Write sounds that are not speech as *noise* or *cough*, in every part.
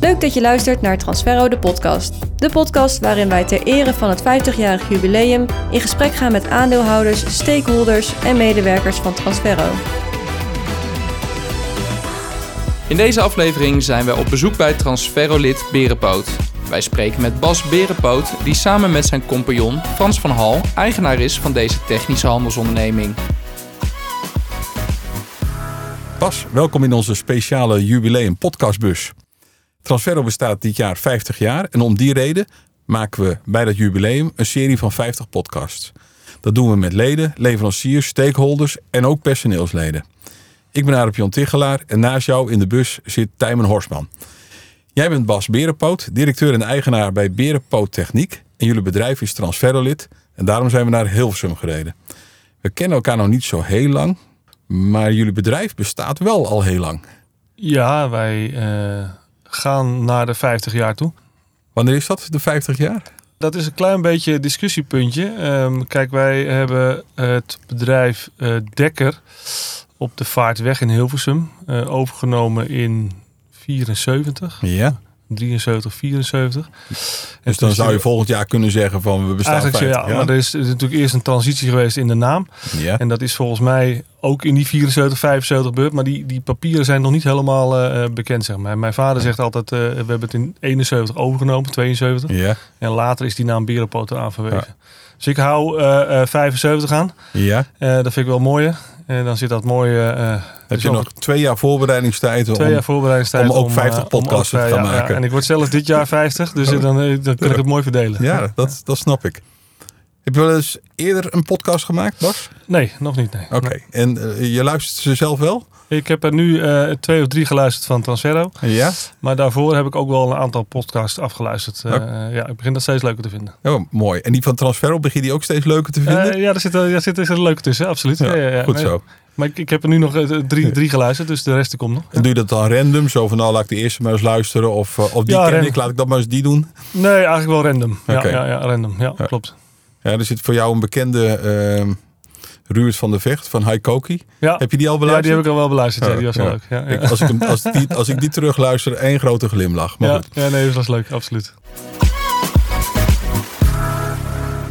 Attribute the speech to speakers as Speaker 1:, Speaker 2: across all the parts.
Speaker 1: Leuk dat je luistert naar Transferro de podcast. De podcast waarin wij ter ere van het 50-jarig jubileum in gesprek gaan met aandeelhouders, stakeholders en medewerkers van Transferro.
Speaker 2: In deze aflevering zijn we op bezoek bij Transferolid Berenpoot. Wij spreken met Bas Berenpoot, die samen met zijn compagnon Frans van Hal eigenaar is van deze technische handelsonderneming.
Speaker 3: Bas, welkom in onze speciale jubileum podcastbus. Transferro bestaat dit jaar 50 jaar en om die reden maken we bij dat jubileum een serie van 50 podcasts. Dat doen we met leden, leveranciers, stakeholders en ook personeelsleden. Ik ben Arep Jan Tichelaar en naast jou in de bus zit Tijmen Horsman. Jij bent Bas Berenpoot, directeur en eigenaar bij Berenpoot Techniek en jullie bedrijf is Transferrolid en daarom zijn we naar Hilversum gereden. We kennen elkaar nog niet zo heel lang, maar jullie bedrijf bestaat wel al heel lang.
Speaker 4: Ja, wij eh, gaan naar de 50 jaar toe.
Speaker 3: Wanneer is dat? De 50 jaar?
Speaker 4: Dat is een klein beetje een discussiepuntje. Ehm, kijk, wij hebben het bedrijf eh, Dekker op de Vaartweg in Hilversum eh, overgenomen in 74,
Speaker 3: Ja.
Speaker 4: 73, 74.
Speaker 3: Dus dan zou je volgend jaar kunnen zeggen van we bestaan
Speaker 4: Eigenlijk,
Speaker 3: 50
Speaker 4: ja,
Speaker 3: jaar.
Speaker 4: maar er is, er is natuurlijk eerst een transitie geweest in de naam.
Speaker 3: Ja.
Speaker 4: En dat is volgens mij ook in die 74, 75 beurt. Maar die, die papieren zijn nog niet helemaal eh, bekend, zeg maar. Mijn vader zegt altijd, eh, we hebben het in 71 overgenomen, 72.
Speaker 3: Ja.
Speaker 4: En later is die naam Berenpoot eraan verweven. Dus ik hou eh, eh, 75 aan.
Speaker 3: ja.
Speaker 4: Eh, dat vind ik wel mooier. En dan zit dat mooie... eh
Speaker 3: Heb
Speaker 4: dus
Speaker 3: je nog twee jaar voorbereidingstijd? om-
Speaker 4: Twee jaar voorbereidingstijd.
Speaker 3: om ook
Speaker 4: eh,
Speaker 3: 50 podcasts
Speaker 4: twee
Speaker 3: te gaan
Speaker 4: jaar- ja,
Speaker 3: maken.
Speaker 4: en ik word zelf dit jaar 50, dus eh, dan, eh, dan kan ik het mooi verdelen.
Speaker 3: Ja, dat, dat snap ik. Heb je wel eens eerder een podcast gemaakt, Bas?
Speaker 4: Nee, nog niet, nee.
Speaker 3: Oké. En eh, je luistert ze zelf wel?
Speaker 4: Ik heb er nu eh, twee of drie geluisterd van Transferro.
Speaker 3: Ja.
Speaker 4: Maar daarvoor heb ik ook wel een aantal podcasts afgeluisterd. Eh, ja, ik begin dat steeds leuker te vinden.
Speaker 3: Oh, mooi. En die van Transferop begin je die ook steeds leuker te vinden?
Speaker 4: Eh, ja, daar zit, daar zit, daar zit leuk tussen, absoluut. Ja, ja, ja.
Speaker 3: Goed
Speaker 4: Nee,
Speaker 3: zo.
Speaker 4: Maar ik, ik heb er nu nog eh, drie, drie geluisterd, dus de rest die komt nog.
Speaker 3: En doe je dat dan random? Zo van, nou laat ik de eerste maar eens luisteren. Of, eh, of die
Speaker 4: Ja,
Speaker 3: ken
Speaker 4: random.
Speaker 3: ik, laat ik dat maar eens die doen.
Speaker 4: Nee, eigenlijk wel random. Ja,
Speaker 3: Oké.
Speaker 4: ja, ja, random. Ja,
Speaker 3: Ja.
Speaker 4: klopt.
Speaker 3: Ja, er zit voor jou een bekende ehm Ruud van de Vecht van Haikoki.
Speaker 4: Ja.
Speaker 3: Heb je die al
Speaker 4: ja,
Speaker 3: beluisterd?
Speaker 4: die heb ik al wel beluisterd. Ja, die was wel
Speaker 3: Ja.
Speaker 4: leuk. Ja,
Speaker 3: Ik-
Speaker 4: ja.
Speaker 3: als, ik hem, als, die,
Speaker 4: *laughs*
Speaker 3: als ik die terugluister, één grote glimlach. Maar
Speaker 4: Ja,
Speaker 3: goed.
Speaker 4: ja, nee, dat was leuk, absoluut.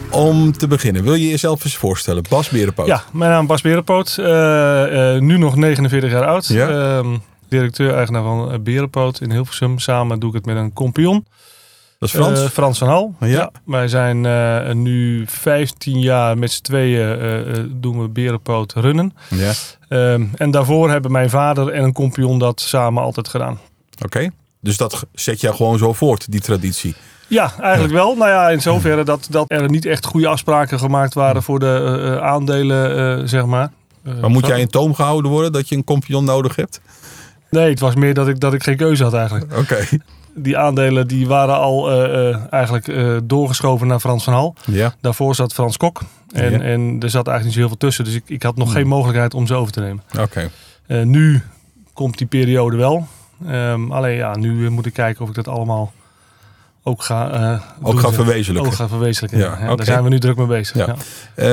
Speaker 3: Om te beginnen, wil je jezelf eens voorstellen? Bas Berenpoot.
Speaker 4: Ja, mijn naam is Bas Berenpoot. eh, eh, nu nog 49 jaar oud.
Speaker 3: Ja.
Speaker 4: Ehm, directeur-eigenaar van eh, Berenpoot in Hilversum. Samen doe ik het met een kompion.
Speaker 3: Dat is Frans.
Speaker 4: Eh, Frans van Hal.
Speaker 3: Ja.
Speaker 4: Wij zijn eh, nu 15 jaar met z'n tweeën eh, eh, doen we berenpoot runnen.
Speaker 3: ja.
Speaker 4: Ehm, en daarvoor hebben mijn vader en een kompion dat samen altijd gedaan.
Speaker 3: Oké. Dus dat ge- zet jij gewoon zo voort, die traditie.
Speaker 4: Ja, eigenlijk wel. Nou ja, in zoverre dat, dat er niet echt goede afspraken gemaakt waren voor de eh, eh, aandelen, eh, zeg maar. Eh,
Speaker 3: Maar moet
Speaker 4: zo-
Speaker 3: jij in toom gehouden worden dat je een compagnon nodig hebt?
Speaker 4: Nee, het was meer dat ik, dat ik geen keuze had eigenlijk.
Speaker 3: Oké.
Speaker 4: Die aandelen die waren al eh, eh, eigenlijk eh, doorgeschoven naar Frans van Hal.
Speaker 3: *laughs* Ja.
Speaker 4: Daarvoor zat Frans Kok. En,
Speaker 3: Ja. Hmm.
Speaker 4: en er zat eigenlijk niet zo heel veel tussen. Dus ik, ik had nog geen mogelijkheid om ze over te nemen.
Speaker 3: Oké.
Speaker 4: Eh, nu komt die periode wel. Ehm, alleen ja, nu eh, moet ik kijken of ik dat allemaal ook ga, eh,
Speaker 3: Ook
Speaker 4: doen,
Speaker 3: gaan
Speaker 4: zeg.
Speaker 3: verwezenlijken.
Speaker 4: Ook ga verwezenlijken.
Speaker 3: Ja,
Speaker 4: Ja, ja,
Speaker 3: oké.
Speaker 4: Daar zijn we nu druk mee bezig.
Speaker 3: Ja.
Speaker 4: Ja.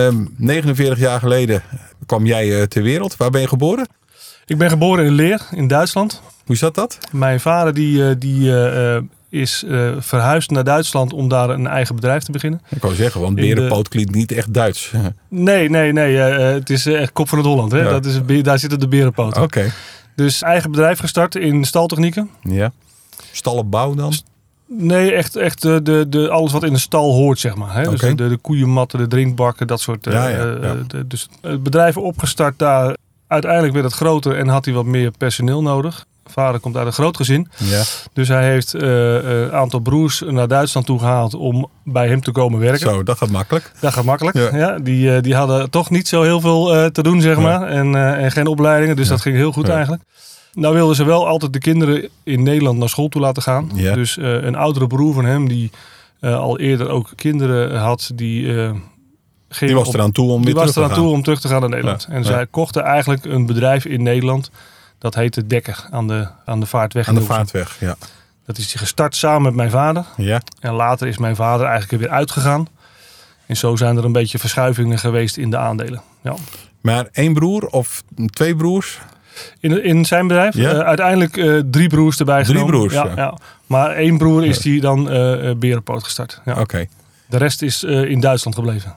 Speaker 3: Ehm, 49 jaar geleden kwam jij eh, ter wereld. Waar ben je geboren?
Speaker 4: Ik ben geboren in Leer in Duitsland.
Speaker 3: Hoe zat dat?
Speaker 4: Mijn vader die, eh, die, eh, eh, is eh, verhuisd naar Duitsland om daar een eigen bedrijf te beginnen.
Speaker 3: Ik wou zeggen, want
Speaker 4: In de-
Speaker 3: berenpoot klinkt niet echt Duits. *laughs* Oké.
Speaker 4: Nee, nee, nee. eh, eh, het is eh, echt kop van het Holland. Hè?
Speaker 3: Ja. Oh.
Speaker 4: Dat is, het be- daar zitten de berenpoten. Dus eigen bedrijf gestart in staltechnieken.
Speaker 3: Ja. Stallenbouw dan?
Speaker 4: Nee, echt, echt eh, de, de, alles wat in de stal hoort, zeg maar. Hè? Dus
Speaker 3: Oké.
Speaker 4: de, de koeienmatten, de drinkbakken, dat soort. eh,
Speaker 3: Ja, ja,
Speaker 4: eh,
Speaker 3: ja.
Speaker 4: de- dus het bedrijf opgestart daar. Uiteindelijk werd het groter en had hij wat meer personeel nodig. Vader komt uit een groot gezin.
Speaker 3: Ja.
Speaker 4: Dus hij heeft eh, eh, een aantal broers naar Duitsland toe gehaald om bij hem te komen werken.
Speaker 3: Zo, dat gaat makkelijk.
Speaker 4: Dat gaat makkelijk.
Speaker 3: Ja.
Speaker 4: Ja. die, eh, die hadden toch niet zo heel veel eh, te doen, zeg
Speaker 3: Ja.
Speaker 4: maar. En, eh, en geen opleidingen, dus
Speaker 3: Ja.
Speaker 4: dat ging heel goed
Speaker 3: Ja.
Speaker 4: eigenlijk. Nou wilden ze wel altijd de kinderen in Nederland naar school toe laten gaan.
Speaker 3: Ja.
Speaker 4: Dus eh, een oudere broer van hem, die eh, al eerder ook kinderen had, die... eh, ging
Speaker 3: Die was
Speaker 4: op-
Speaker 3: eraan toe om
Speaker 4: die
Speaker 3: weer
Speaker 4: was
Speaker 3: terug te
Speaker 4: eraan toe
Speaker 3: gaan.
Speaker 4: om terug te gaan naar Nederland.
Speaker 3: Ja.
Speaker 4: En zij kochten eigenlijk een bedrijf in Nederland. Dat heette Dekker aan de, aan de vaartweg.
Speaker 3: Aan
Speaker 4: in
Speaker 3: de
Speaker 4: Hilversum.
Speaker 3: vaartweg, ja.
Speaker 4: Dat is die gestart samen met mijn vader.
Speaker 3: Ja.
Speaker 4: En later is mijn vader eigenlijk er weer uitgegaan. En zo zijn er een beetje verschuivingen geweest in de aandelen. Ja.
Speaker 3: Maar één broer of twee broers?
Speaker 4: In, in zijn bedrijf?
Speaker 3: Ja.
Speaker 4: Eh, uiteindelijk eh, drie broers erbij
Speaker 3: Drie
Speaker 4: genomen.
Speaker 3: broers,
Speaker 4: ja,
Speaker 3: ja.
Speaker 4: ja. Maar één broer is die dan eh eh, Berenpoot gestart. Ja.
Speaker 3: Oké.
Speaker 4: De rest is eh, in Duitsland gebleven.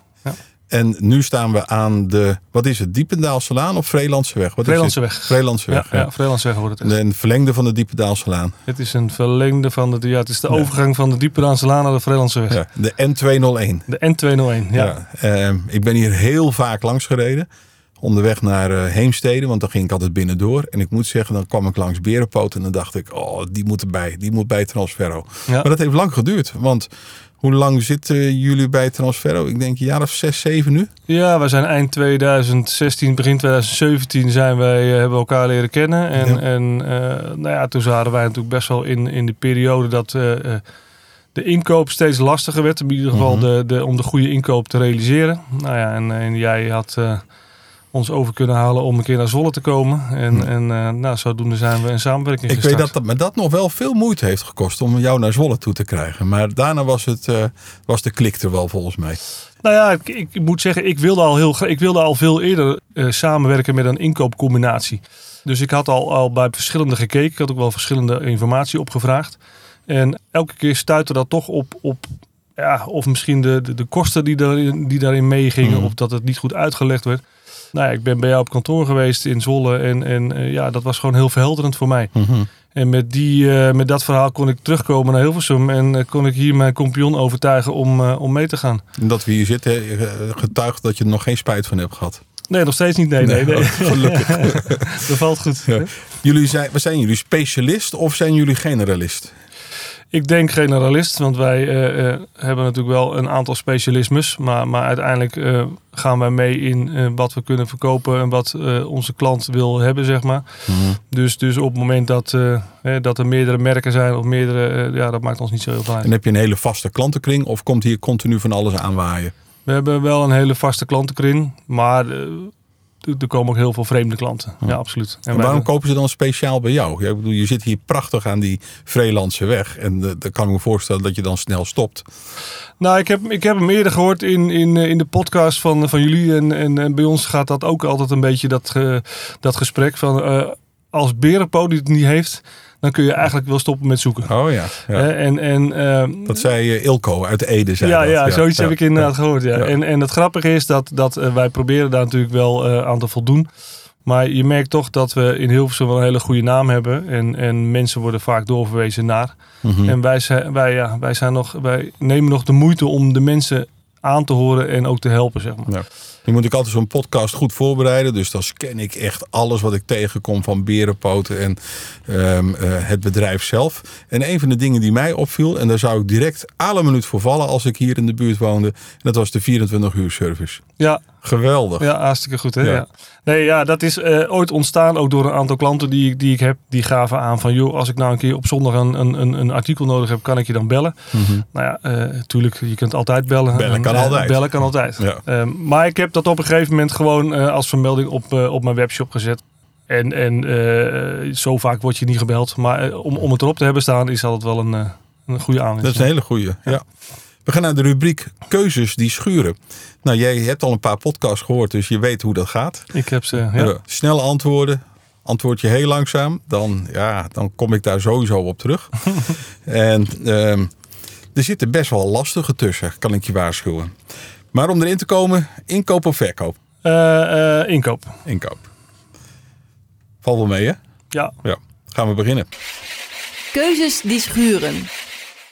Speaker 3: En nu staan we aan de, wat is het, Diependaalselaan of Vreelandseweg? Wat
Speaker 4: Vreelandseweg.
Speaker 3: Is Vreelandse
Speaker 4: Ja,
Speaker 3: weg.
Speaker 4: ja, Vreelandsweg wordt het echt.
Speaker 3: Een verlengde van de Diependaalselaan.
Speaker 4: Het is een verlengde van de... Ja, het is de overgang van de Diepedaanse Laan naar de Vreelandseweg.
Speaker 3: Ja, de N201.
Speaker 4: De N201, ja.
Speaker 3: Ja. ehm, ik ben hier heel vaak langs gereden. Onderweg naar eh, Heemstede, want dan ging ik altijd binnendoor. En ik moet zeggen, dan kwam ik langs Berenpoot en dan dacht ik, oh, die moet erbij. Die moet bij Transferro.
Speaker 4: Ja.
Speaker 3: Maar dat heeft lang geduurd, want hoe lang zitten jullie bij Transferro? Ik denk een jaar of zes, zeven nu.
Speaker 4: Ja, we zijn eind 2016, begin 2017 zijn wij, eh, hebben we elkaar leren kennen. En,
Speaker 3: Ja.
Speaker 4: en eh, nou ja, toen zaten wij natuurlijk best wel in, in de periode dat eh, eh, de inkoop steeds lastiger werd. In ieder geval
Speaker 3: Mhm.
Speaker 4: de, de, om de goede inkoop te realiseren. Nou ja, en, en jij had eh, ons over kunnen halen om een keer naar Zwolle te komen. En,
Speaker 3: Ja.
Speaker 4: en eh, nou, zodoende zijn we een samenwerking
Speaker 3: Ik weet dat
Speaker 4: gestart.
Speaker 3: dat me dat nog wel veel moeite heeft gekost om jou naar Zwolle toe te krijgen. Maar daarna was, het, eh, was de klik er wel volgens mij.
Speaker 4: Nou ja, ik, ik moet zeggen, ik wilde al, heel, gra- ik wilde al veel eerder eh, samenwerken met een inkoopcombinatie. Dus ik had al, al bij verschillende gekeken. Ik had ook wel verschillende informatie opgevraagd. En elke keer stuitte dat toch op, op ja, of misschien de, de, de kosten die daarin, die daarin meegingen.
Speaker 3: Mhm.
Speaker 4: Of dat het niet goed uitgelegd werd. Nou ja, ik ben bij jou op kantoor geweest in Zwolle. En, en eh, ja, dat was gewoon heel verhelderend voor mij. En met, die, eh, met dat verhaal kon ik terugkomen naar Hilversum. En eh, kon ik hier mijn kompion overtuigen om, eh, om mee te gaan.
Speaker 3: En Dat we hier zitten eh, getuigt dat je er nog geen spijt van hebt gehad.
Speaker 4: Nee, nog steeds niet. Nee, nee, nee.
Speaker 3: *laughs*
Speaker 4: *laughs*
Speaker 3: Gelukkig.
Speaker 4: Dat valt goed.
Speaker 3: Ja. Jullie zijn, wat zijn jullie specialist of zijn jullie generalist?
Speaker 4: Ik denk generalist, want wij eh, eh, hebben natuurlijk wel een aantal specialismes. Maar, maar uiteindelijk eh, gaan wij mee in eh, wat we kunnen verkopen en wat eh, onze klant wil hebben, zeg maar.
Speaker 3: Mhm.
Speaker 4: Dus, dus op het moment dat, eh, hè, dat er meerdere merken zijn of meerdere, eh, ja, dat maakt ons niet zo heel veel uit.
Speaker 3: En heb je een hele vaste klantenkring of komt hier continu van alles aanwaaien?
Speaker 4: We hebben wel een hele vaste klantenkring, maar eh, er- er komen ook heel veel vreemde klanten. Ja, absoluut.
Speaker 3: En
Speaker 4: wij-
Speaker 3: waarom kopen ze dan speciaal bij jou? Ja, ik bedoel, je zit hier prachtig aan die Vreelandse weg. En eh, dan kan ik me voorstellen dat je dan snel stopt.
Speaker 4: Nou, ik heb, ik heb hem eerder gehoord in, in, eh, in de podcast van, van jullie. En, en, en bij ons gaat dat ook altijd een beetje dat, ge- dat gesprek van... eh, als Berenpo die het niet heeft, dan kun je eigenlijk wel stoppen met zoeken.
Speaker 3: Oh ja.
Speaker 4: Hè, En, en, ehm,
Speaker 3: Dat zei eh, Ilko uit Ede. Zei
Speaker 4: ja,
Speaker 3: dat.
Speaker 4: ja, zoiets
Speaker 3: ja.
Speaker 4: heb ik eh, inderdaad gehoord. Ja.
Speaker 3: Ja.
Speaker 4: En, en het grappige is dat, dat eh, wij proberen daar natuurlijk wel eh, aan te voldoen. Maar je merkt toch dat we in Hilversum wel een hele goede naam hebben. En, en mensen worden vaak doorverwezen naar.
Speaker 3: Mhm.
Speaker 4: En wij, zijn, wij, ja, wij, zijn nog, wij nemen nog de moeite om de mensen aan te horen en ook te helpen, zeg maar.
Speaker 3: Nu moet ik altijd zo'n podcast goed voorbereiden. Dus dan scan ik echt alles wat ik tegenkom van berenpoten en ehm, eh, het bedrijf zelf. En een van de dingen die mij opviel, en daar zou ik direct alle minuut voor vallen als ik hier in de buurt woonde. En dat was de 24 uur service.
Speaker 4: Ja,
Speaker 3: Geweldig.
Speaker 4: ja hartstikke goed. Hè?
Speaker 3: Ja.
Speaker 4: Ja. Nee, ja, dat is eh, ooit ontstaan ook door een aantal klanten die, ik- die ik heb. Die gaven aan van, joh, als ik nou een keer op zondag een, een, een, een artikel nodig heb, kan ik je dan bellen?
Speaker 3: Mhm.
Speaker 4: Nou ja, natuurlijk, tuurlijk, je kunt altijd bellen.
Speaker 3: Bellen
Speaker 4: En,
Speaker 3: kan
Speaker 4: eh,
Speaker 3: altijd.
Speaker 4: Bellen kan altijd.
Speaker 3: Ja.
Speaker 4: Ehm, maar ik heb dat op een gegeven moment gewoon eh, als vermelding op, eh, op mijn webshop gezet. En, en eh, zo vaak word je niet gebeld. Maar eh, om, om het erop te hebben staan is altijd wel een, eh, een goede aanwinst.
Speaker 3: Dat is een hele goeie. Ja. We gaan naar de rubriek keuzes die schuren. Nou, jij hebt al een paar podcasts gehoord, dus je weet hoe dat gaat.
Speaker 4: Ik heb ze, ja.
Speaker 3: Eh, snelle antwoorden. Antwoord je heel langzaam, dan, ja, dan kom ik daar sowieso op terug. en ehm, er zitten best wel lastige tussen, kan ik je waarschuwen. Maar om erin te komen, inkoop of verkoop?
Speaker 4: Eh, eh, inkoop.
Speaker 3: Inkoop. Valt wel mee, hè?
Speaker 4: Ja.
Speaker 3: Ja. Gaan we beginnen.
Speaker 1: Keuzes die schuren.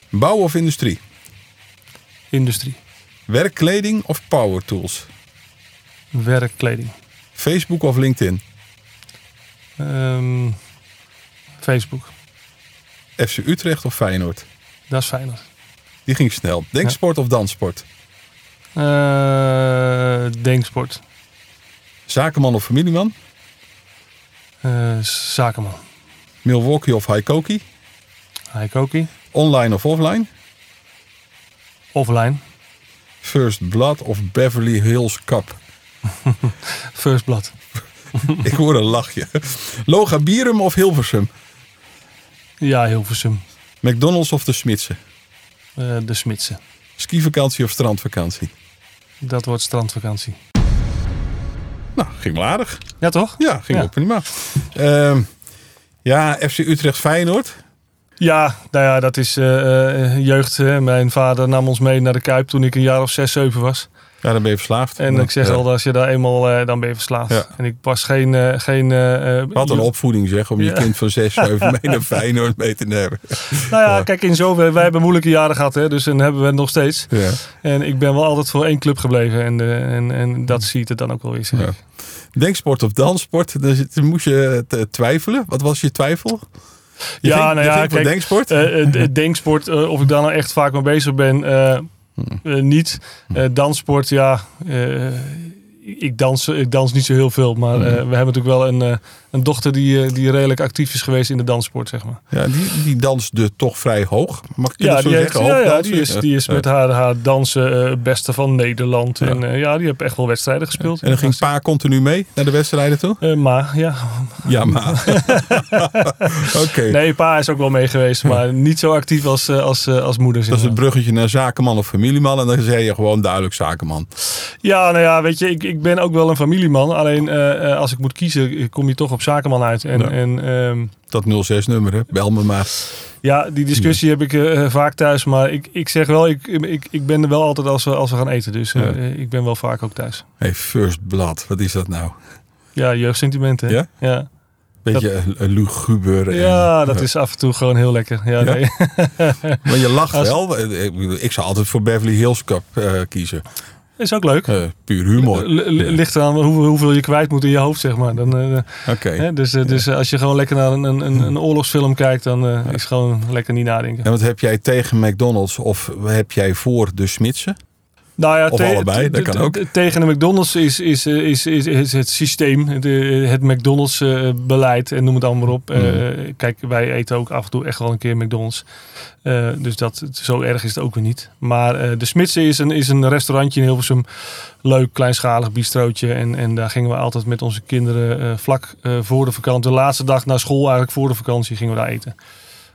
Speaker 3: Bouw of industrie?
Speaker 4: Industrie.
Speaker 3: Werkkleding of power tools?
Speaker 4: Werkkleding.
Speaker 3: Facebook of LinkedIn?
Speaker 4: Ehm, Facebook.
Speaker 3: FC Utrecht of Feyenoord?
Speaker 4: Dat is fijner.
Speaker 3: Die ging snel. Denksport of danssport?
Speaker 4: Eh Denksport.
Speaker 3: Zakenman of familieman?
Speaker 4: Eh, zakenman.
Speaker 3: Milwaukee of Haikoki?
Speaker 4: Haikoki.
Speaker 3: Online of offline?
Speaker 4: Offline.
Speaker 3: First Blood of Beverly Hills Cup?
Speaker 4: First Blood.
Speaker 3: Ik hoor een lachje. Loga Bierum of Hilversum?
Speaker 4: Ja, Hilversum.
Speaker 3: McDonald's of de Smitsen?
Speaker 4: Eh, de Smitsen.
Speaker 3: Skivakantie of strandvakantie?
Speaker 4: Dat wordt strandvakantie.
Speaker 3: Nou, ging wel aardig.
Speaker 4: Ja, toch?
Speaker 3: Ja, ging
Speaker 4: Ja.
Speaker 3: ook prima. Ehm, ja, FC Utrecht Feyenoord.
Speaker 4: Ja, nou ja, dat is eh, eh, jeugd. hè. Mijn vader nam ons mee naar de Kuip toen ik een jaar of zes, zeven was.
Speaker 3: Ja, dan ben je verslaafd.
Speaker 4: En
Speaker 3: Ja.
Speaker 4: ik zeg
Speaker 3: Ja.
Speaker 4: al, als je daar eenmaal, eh, dan ben je verslaafd.
Speaker 3: Ja.
Speaker 4: En ik was geen... eh, geen eh, eh,
Speaker 3: Wat een
Speaker 4: je-
Speaker 3: opvoeding zeg, om je
Speaker 4: Ja.
Speaker 3: kind van 6, 7 mee naar Feyenoord mee te nemen.
Speaker 4: Nou ja,
Speaker 3: Ja.
Speaker 4: kijk, in zover, wij hebben moeilijke jaren gehad, hè, dus en hebben we het nog steeds.
Speaker 3: Ja.
Speaker 4: En ik ben wel altijd voor één club gebleven en, eh, en, en dat ziet het dan ook wel weer. zeg
Speaker 3: Ja.
Speaker 4: ik.
Speaker 3: Denksport of danssport, dus het- moest je eh, t- twijfelen. Wat was je twijfel? Je
Speaker 4: Ja,
Speaker 3: ging,
Speaker 4: nou
Speaker 3: je
Speaker 4: ja,
Speaker 3: ging voor
Speaker 4: kijk,
Speaker 3: denksport?
Speaker 4: Eh, eh, d- denksport, eh, of ik daar nou echt vaak mee bezig ben, eh, eh, niet. Eh, danssport, ja, eh, ik, dans, ik dans niet zo heel veel. Maar eh, we hebben natuurlijk wel een, eh, een dochter die, eh, die redelijk actief is geweest in de danssport, zeg maar.
Speaker 3: Ja, die, die danste toch vrij hoog. Mag ik
Speaker 4: Ja,
Speaker 3: dat zo
Speaker 4: die, heeft,
Speaker 3: zeggen?
Speaker 4: ja,
Speaker 3: Hoog
Speaker 4: ja,
Speaker 3: dansen?
Speaker 4: die, is, die is
Speaker 3: Ja.
Speaker 4: met haar, haar dansen eh, beste van Nederland. En eh, ja, die heeft echt wel wedstrijden gespeeld.
Speaker 3: En dan ging Pa continu mee naar de wedstrijden toe?
Speaker 4: Eh, maar ja,
Speaker 3: Ja,
Speaker 4: *laughs*
Speaker 3: maar. Oké,
Speaker 4: nee, pa is ook wel mee geweest, maar niet zo actief als, eh, als, eh, als moeder. zeg
Speaker 3: dat is het
Speaker 4: maar.
Speaker 3: bruggetje naar zakenman of familieman. En dan zei je gewoon duidelijk zakenman.
Speaker 4: Ja, nou ja, weet je, ik, ik ben ook wel een familieman. Alleen eh, eh, als ik moet kiezen, kom je toch op zakenman uit. En,
Speaker 3: Ja.
Speaker 4: ja. en ehm,
Speaker 3: Dat 06-nummer, hè? bel me maar.
Speaker 4: ja, die discussie heb ik eh, eh, vaak thuis. Maar ik, ik zeg wel, ik, ik, ik ben er wel altijd als we, als we gaan eten. Dus eh,
Speaker 3: Ja.
Speaker 4: eh, ik ben wel vaak ook thuis.
Speaker 3: Hey, First Blood, wat is dat nou?
Speaker 4: Ja, jeugdsentiment, hè?
Speaker 3: Ja?
Speaker 4: Ja,
Speaker 3: Beetje eh, luguber. en-
Speaker 4: Ja, dat is af en toe gewoon heel lekker. Ja,
Speaker 3: Ja?
Speaker 4: Nee. *laughs*
Speaker 3: Maar je lacht
Speaker 4: Als-
Speaker 3: wel. Ik bedoel, Ik zou altijd voor Beverly Hills Cup eh, kiezen.
Speaker 4: Is ook leuk.
Speaker 3: Eh, puur humor.
Speaker 4: L- l- Ligt eraan hoe, hoeveel je kwijt moet in je hoofd, zeg maar. Dan, eh,
Speaker 3: Oké.
Speaker 4: hè, dus eh, dus eh, als je gewoon lekker naar een, een, een- een oorlogsfilm kijkt, dan eh, is gewoon lekker niet nadenken.
Speaker 3: En wat heb jij tegen McDonald's of heb jij voor de Smitsen?
Speaker 4: Nou ja,
Speaker 3: Of
Speaker 4: te-
Speaker 3: allebei,
Speaker 4: te-
Speaker 3: dat kan
Speaker 4: te-
Speaker 3: ook.
Speaker 4: te- Tegen de McDonald's is, is, is, is, is het systeem, de- het McDonald's-beleid en noem het allemaal maar op.
Speaker 3: Mm.
Speaker 4: Eh, kijk, wij eten ook af en toe echt wel een keer McDonald's. Eh, dus dat, zo erg is het ook weer niet. Maar eh, de Smitsen is een, is een restaurantje in Hilversum. Leuk, kleinschalig bistrootje. En, en daar gingen we altijd met onze kinderen eh, vlak eh, voor de vakantie. De laatste dag na school, eigenlijk voor de vakantie, gingen we daar eten.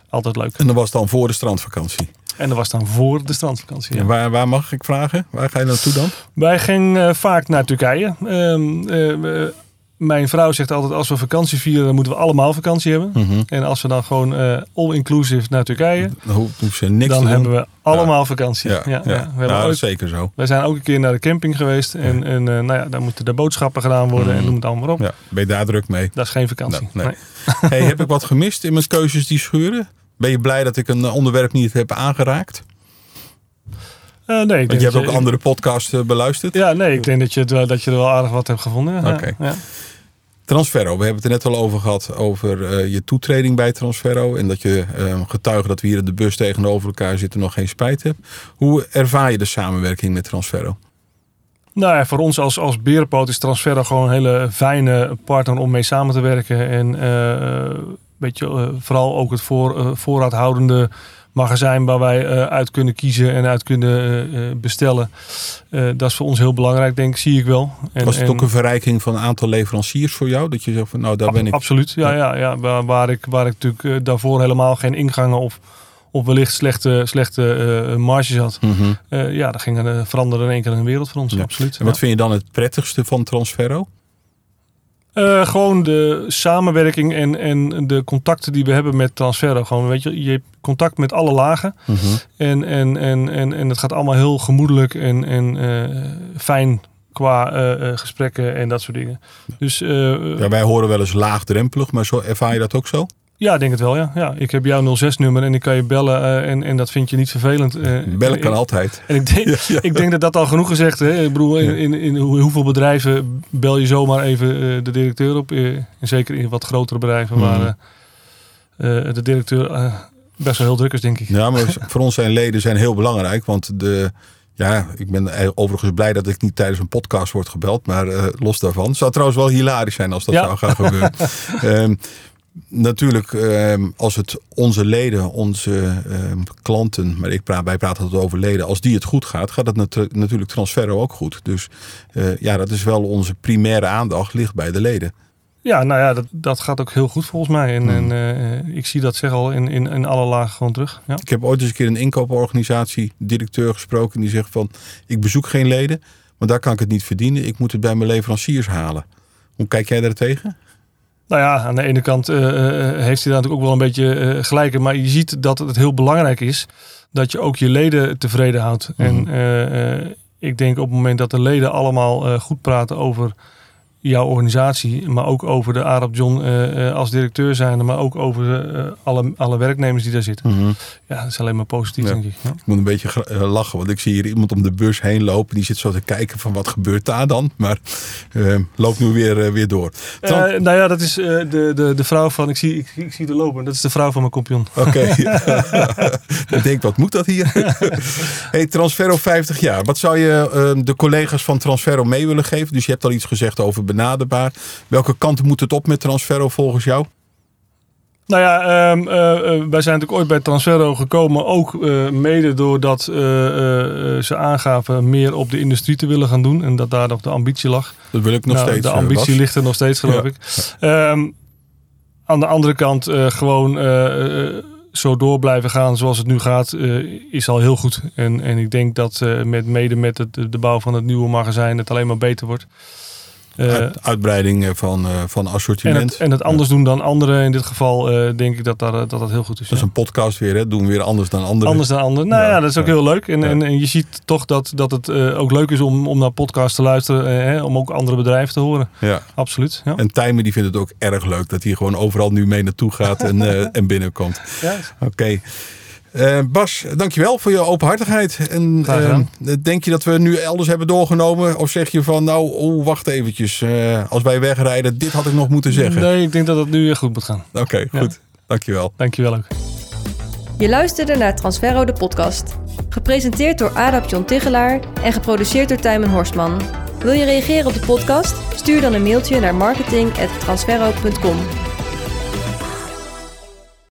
Speaker 4: Altijd leuk.
Speaker 3: En dat was dan voor de strandvakantie.
Speaker 4: En dat was dan voor de strandvakantie. ja.
Speaker 3: En waar, waar mag ik vragen? Waar ga je naartoe dan?
Speaker 4: Wij gingen eh, vaak naar Turkije. Ehm, eh, eh, mijn vrouw zegt altijd: als we vakantie vieren, dan moeten we allemaal vakantie hebben.
Speaker 3: Mhm.
Speaker 4: En als we dan gewoon eh, all-inclusive naar Turkije,
Speaker 3: Dan ho- hoef ze niks
Speaker 4: dan
Speaker 3: te
Speaker 4: hebben
Speaker 3: doen.
Speaker 4: we allemaal vakantie. Ja, ja.
Speaker 3: ja.
Speaker 4: We
Speaker 3: Nou,
Speaker 4: hebben
Speaker 3: dat
Speaker 4: ooit-
Speaker 3: is zeker zo.
Speaker 4: wij zijn ook een keer naar de camping geweest. En, en eh, nou ja, daar moeten de boodschappen gedaan worden en noem het allemaal maar op.
Speaker 3: Mhm. Ja, ben je daar druk
Speaker 4: *laughs*
Speaker 3: mee?
Speaker 4: Dat is geen vakantie.
Speaker 3: Nee, nee.
Speaker 4: Nee.
Speaker 3: Hey, heb ik wat gemist in mijn keuzes die schuren? Ben je blij dat ik een eh, onderwerp niet heb aangeraakt?
Speaker 4: Eh, nee, ik
Speaker 3: Want
Speaker 4: denk
Speaker 3: je hebt
Speaker 4: dat
Speaker 3: ook andere podcasts eh, beluisterd.
Speaker 4: Ja, nee, ik denk dat je, het wel- dat je er wel aardig wat hebt gevonden. Ja,
Speaker 3: Oké.
Speaker 4: ja.
Speaker 3: Transferro, we hebben het er net al over gehad. Over eh, je toetreding bij Transferro. En dat je eh, getuige dat we hier in de bus tegenover elkaar zitten nog geen spijt hebt. Hoe ervaar je de samenwerking met Transferro?
Speaker 4: Nou ja, voor ons als, als Berenpoot is Transferro gewoon een hele fijne partner om mee samen te werken. En eh, weet je, eh, vooral ook het voor, eh, voorraadhoudende magazijn waar wij eh, uit kunnen kiezen en uit kunnen eh, eh, bestellen. Eh, dat is voor ons heel belangrijk, denk ik, zie ik wel. En,
Speaker 3: Was het
Speaker 4: en-
Speaker 3: ook een verrijking van een aantal leveranciers voor jou? Dat je zegt van nou daar ben ik.
Speaker 4: Absoluut, ja, ja, ja. Waar, waar ik, waar ik natuurlijk eh, daarvoor helemaal geen ingangen of, of wellicht slechte, slechte eh, marges had.
Speaker 3: Mhm.
Speaker 4: Eh, ja, dat ging er, veranderde in één keer een wereld voor ons,
Speaker 3: Ja.
Speaker 4: absoluut.
Speaker 3: En
Speaker 4: Ja.
Speaker 3: wat vind je dan het prettigste van Transferro?
Speaker 4: Eh, gewoon de samenwerking en, en de contacten die we hebben met Transferro. Gewoon, weet je, je hebt contact met alle lagen. En, en, en, en, en het gaat allemaal heel gemoedelijk en, en eh, fijn qua eh, eh, gesprekken en dat soort dingen. Dus eh,
Speaker 3: Ja, wij horen wel eens laagdrempelig, maar zo ervaar je dat ook zo?
Speaker 4: ja, ik denk het wel. Ja. Ja, ik heb jouw 06-nummer en ik kan je bellen eh, en, en dat vind je niet vervelend. eh,
Speaker 3: Bellen kan
Speaker 4: en-
Speaker 3: altijd.
Speaker 4: En ik denk, ik denk dat dat al genoeg gezegd is. Ik bedoel, in, in, in hoe- hoeveel bedrijven bel je zomaar even eh, de directeur op? Eh, en zeker in wat grotere bedrijven waar eh, eh, de directeur eh, best wel heel druk is, denk ik.
Speaker 3: Ja, maar *laughs* voor ons zijn leden zijn heel belangrijk. Want de, ja, ik ben eh, overigens blij dat ik niet tijdens een podcast word gebeld. Maar eh, los daarvan. Het zou trouwens wel hilarisch zijn als dat
Speaker 4: Ja.
Speaker 3: zou gaan gebeuren. Ehm, natuurlijk, ehm, als het onze leden, onze ehm, klanten. Maar ik praat, wij praten altijd over leden. Als die het goed gaat, gaat het natu- natuurlijk Transferro ook goed. Dus eh, ja, dat is wel onze primaire aandacht ligt bij de leden.
Speaker 4: Ja, nou ja, dat, dat gaat ook heel goed volgens mij. En, en eh, ik zie dat zeg al in, in, in alle lagen gewoon terug. Ja.
Speaker 3: Ik heb ooit eens een keer een inkooporganisatie directeur gesproken. Die zegt van, ik bezoek geen leden, want daar kan ik het niet verdienen. Ik moet het bij mijn leveranciers halen. Hoe kijk jij daar tegen?
Speaker 4: Nou ja, aan de ene kant eh, eh, heeft hij daar natuurlijk ook wel een beetje eh, gelijk in. Maar je ziet dat het heel belangrijk is dat je ook je leden tevreden houdt. En eh, eh, ik denk op het moment dat de leden allemaal eh, goed praten over jouw organisatie. Maar ook over de Arab John eh, eh, als directeur zijnde. Maar ook over eh, alle, alle werknemers die daar zitten. Ja, dat is alleen maar positief
Speaker 3: Ja.
Speaker 4: denk ik. Ja.
Speaker 3: Ik moet een beetje gra- eh, lachen, want ik zie hier iemand om de bus heen lopen. Die zit zo te kijken van wat gebeurt daar dan? Maar eh loop nu weer, eh, weer door. Tran-
Speaker 4: Eh, nou ja, dat is eh, de, de, de vrouw van... Ik zie, ik, ik zie de lopen. Dat is de vrouw van mijn kompion.
Speaker 3: Oké. *laughs* ik denk, wat moet dat hier? *laughs* hey, Transferro 50 jaar. Wat zou je eh, de collega's van Transferro mee willen geven? Dus je hebt al iets gezegd over benaderbaar. Welke kant moet het op met Transferro volgens jou?
Speaker 4: Nou ja, ehm, eh, eh, wij zijn natuurlijk ooit bij Transferro gekomen. Ook eh, mede doordat eh, eh, eh, ze aangaven meer op de industrie te willen gaan doen. En dat daar nog de ambitie lag.
Speaker 3: Dat wil ik nog
Speaker 4: Nou,
Speaker 3: steeds.
Speaker 4: de
Speaker 3: eh,
Speaker 4: ambitie
Speaker 3: Bas.
Speaker 4: ligt er nog steeds, geloof
Speaker 3: Ja.
Speaker 4: ik. Ehm, aan de andere kant, eh, gewoon eh, eh, zo door blijven gaan zoals het nu gaat, eh, is al heel goed. En, en ik denk dat eh, met, mede met het, de bouw van het nieuwe magazijn het alleen maar beter wordt. Eh,
Speaker 3: Uit- uitbreiding eh, van, eh, van
Speaker 4: en,
Speaker 3: assortiment.
Speaker 4: het, en het anders doen dan anderen in dit geval, eh, denk ik dat, daar, dat dat heel goed is.
Speaker 3: dat is een podcast weer, hè? doen we weer anders dan anderen.
Speaker 4: Anders dan anderen. Nou
Speaker 3: Ja,
Speaker 4: ja, dat is ook
Speaker 3: ja.
Speaker 4: heel leuk. En,
Speaker 3: Ja.
Speaker 4: en, en je ziet toch dat, dat het eh, ook leuk is om, om naar podcasts te luisteren. eh, hè, om ook andere bedrijven te horen.
Speaker 3: Ja.
Speaker 4: Absoluut. Ja.
Speaker 3: En Tijmen die vindt het ook erg leuk dat hij gewoon overal nu mee naartoe gaat en,
Speaker 4: *laughs*
Speaker 3: eh, en binnenkomt.
Speaker 4: Ja.
Speaker 3: Oké. Eh, Bas, dankjewel voor je openhartigheid. En,
Speaker 4: Graag gedaan.
Speaker 3: eh, denk je dat we nu elders hebben doorgenomen? Of zeg je van, nou, oh, wacht eventjes. eh, als wij wegrijden, dit had ik nog moeten zeggen.
Speaker 4: Nee, ik denk dat het nu eh, goed moet gaan.
Speaker 3: Oké, goed. Dankjewel.
Speaker 4: Dankjewel ook.
Speaker 1: Je luisterde naar Transferro de podcast. Gepresenteerd door Adap John Tigelaar en geproduceerd door Tijmen Horstman. Wil je reageren op de podcast? Stuur dan een mailtje naar marketing.transferro.com.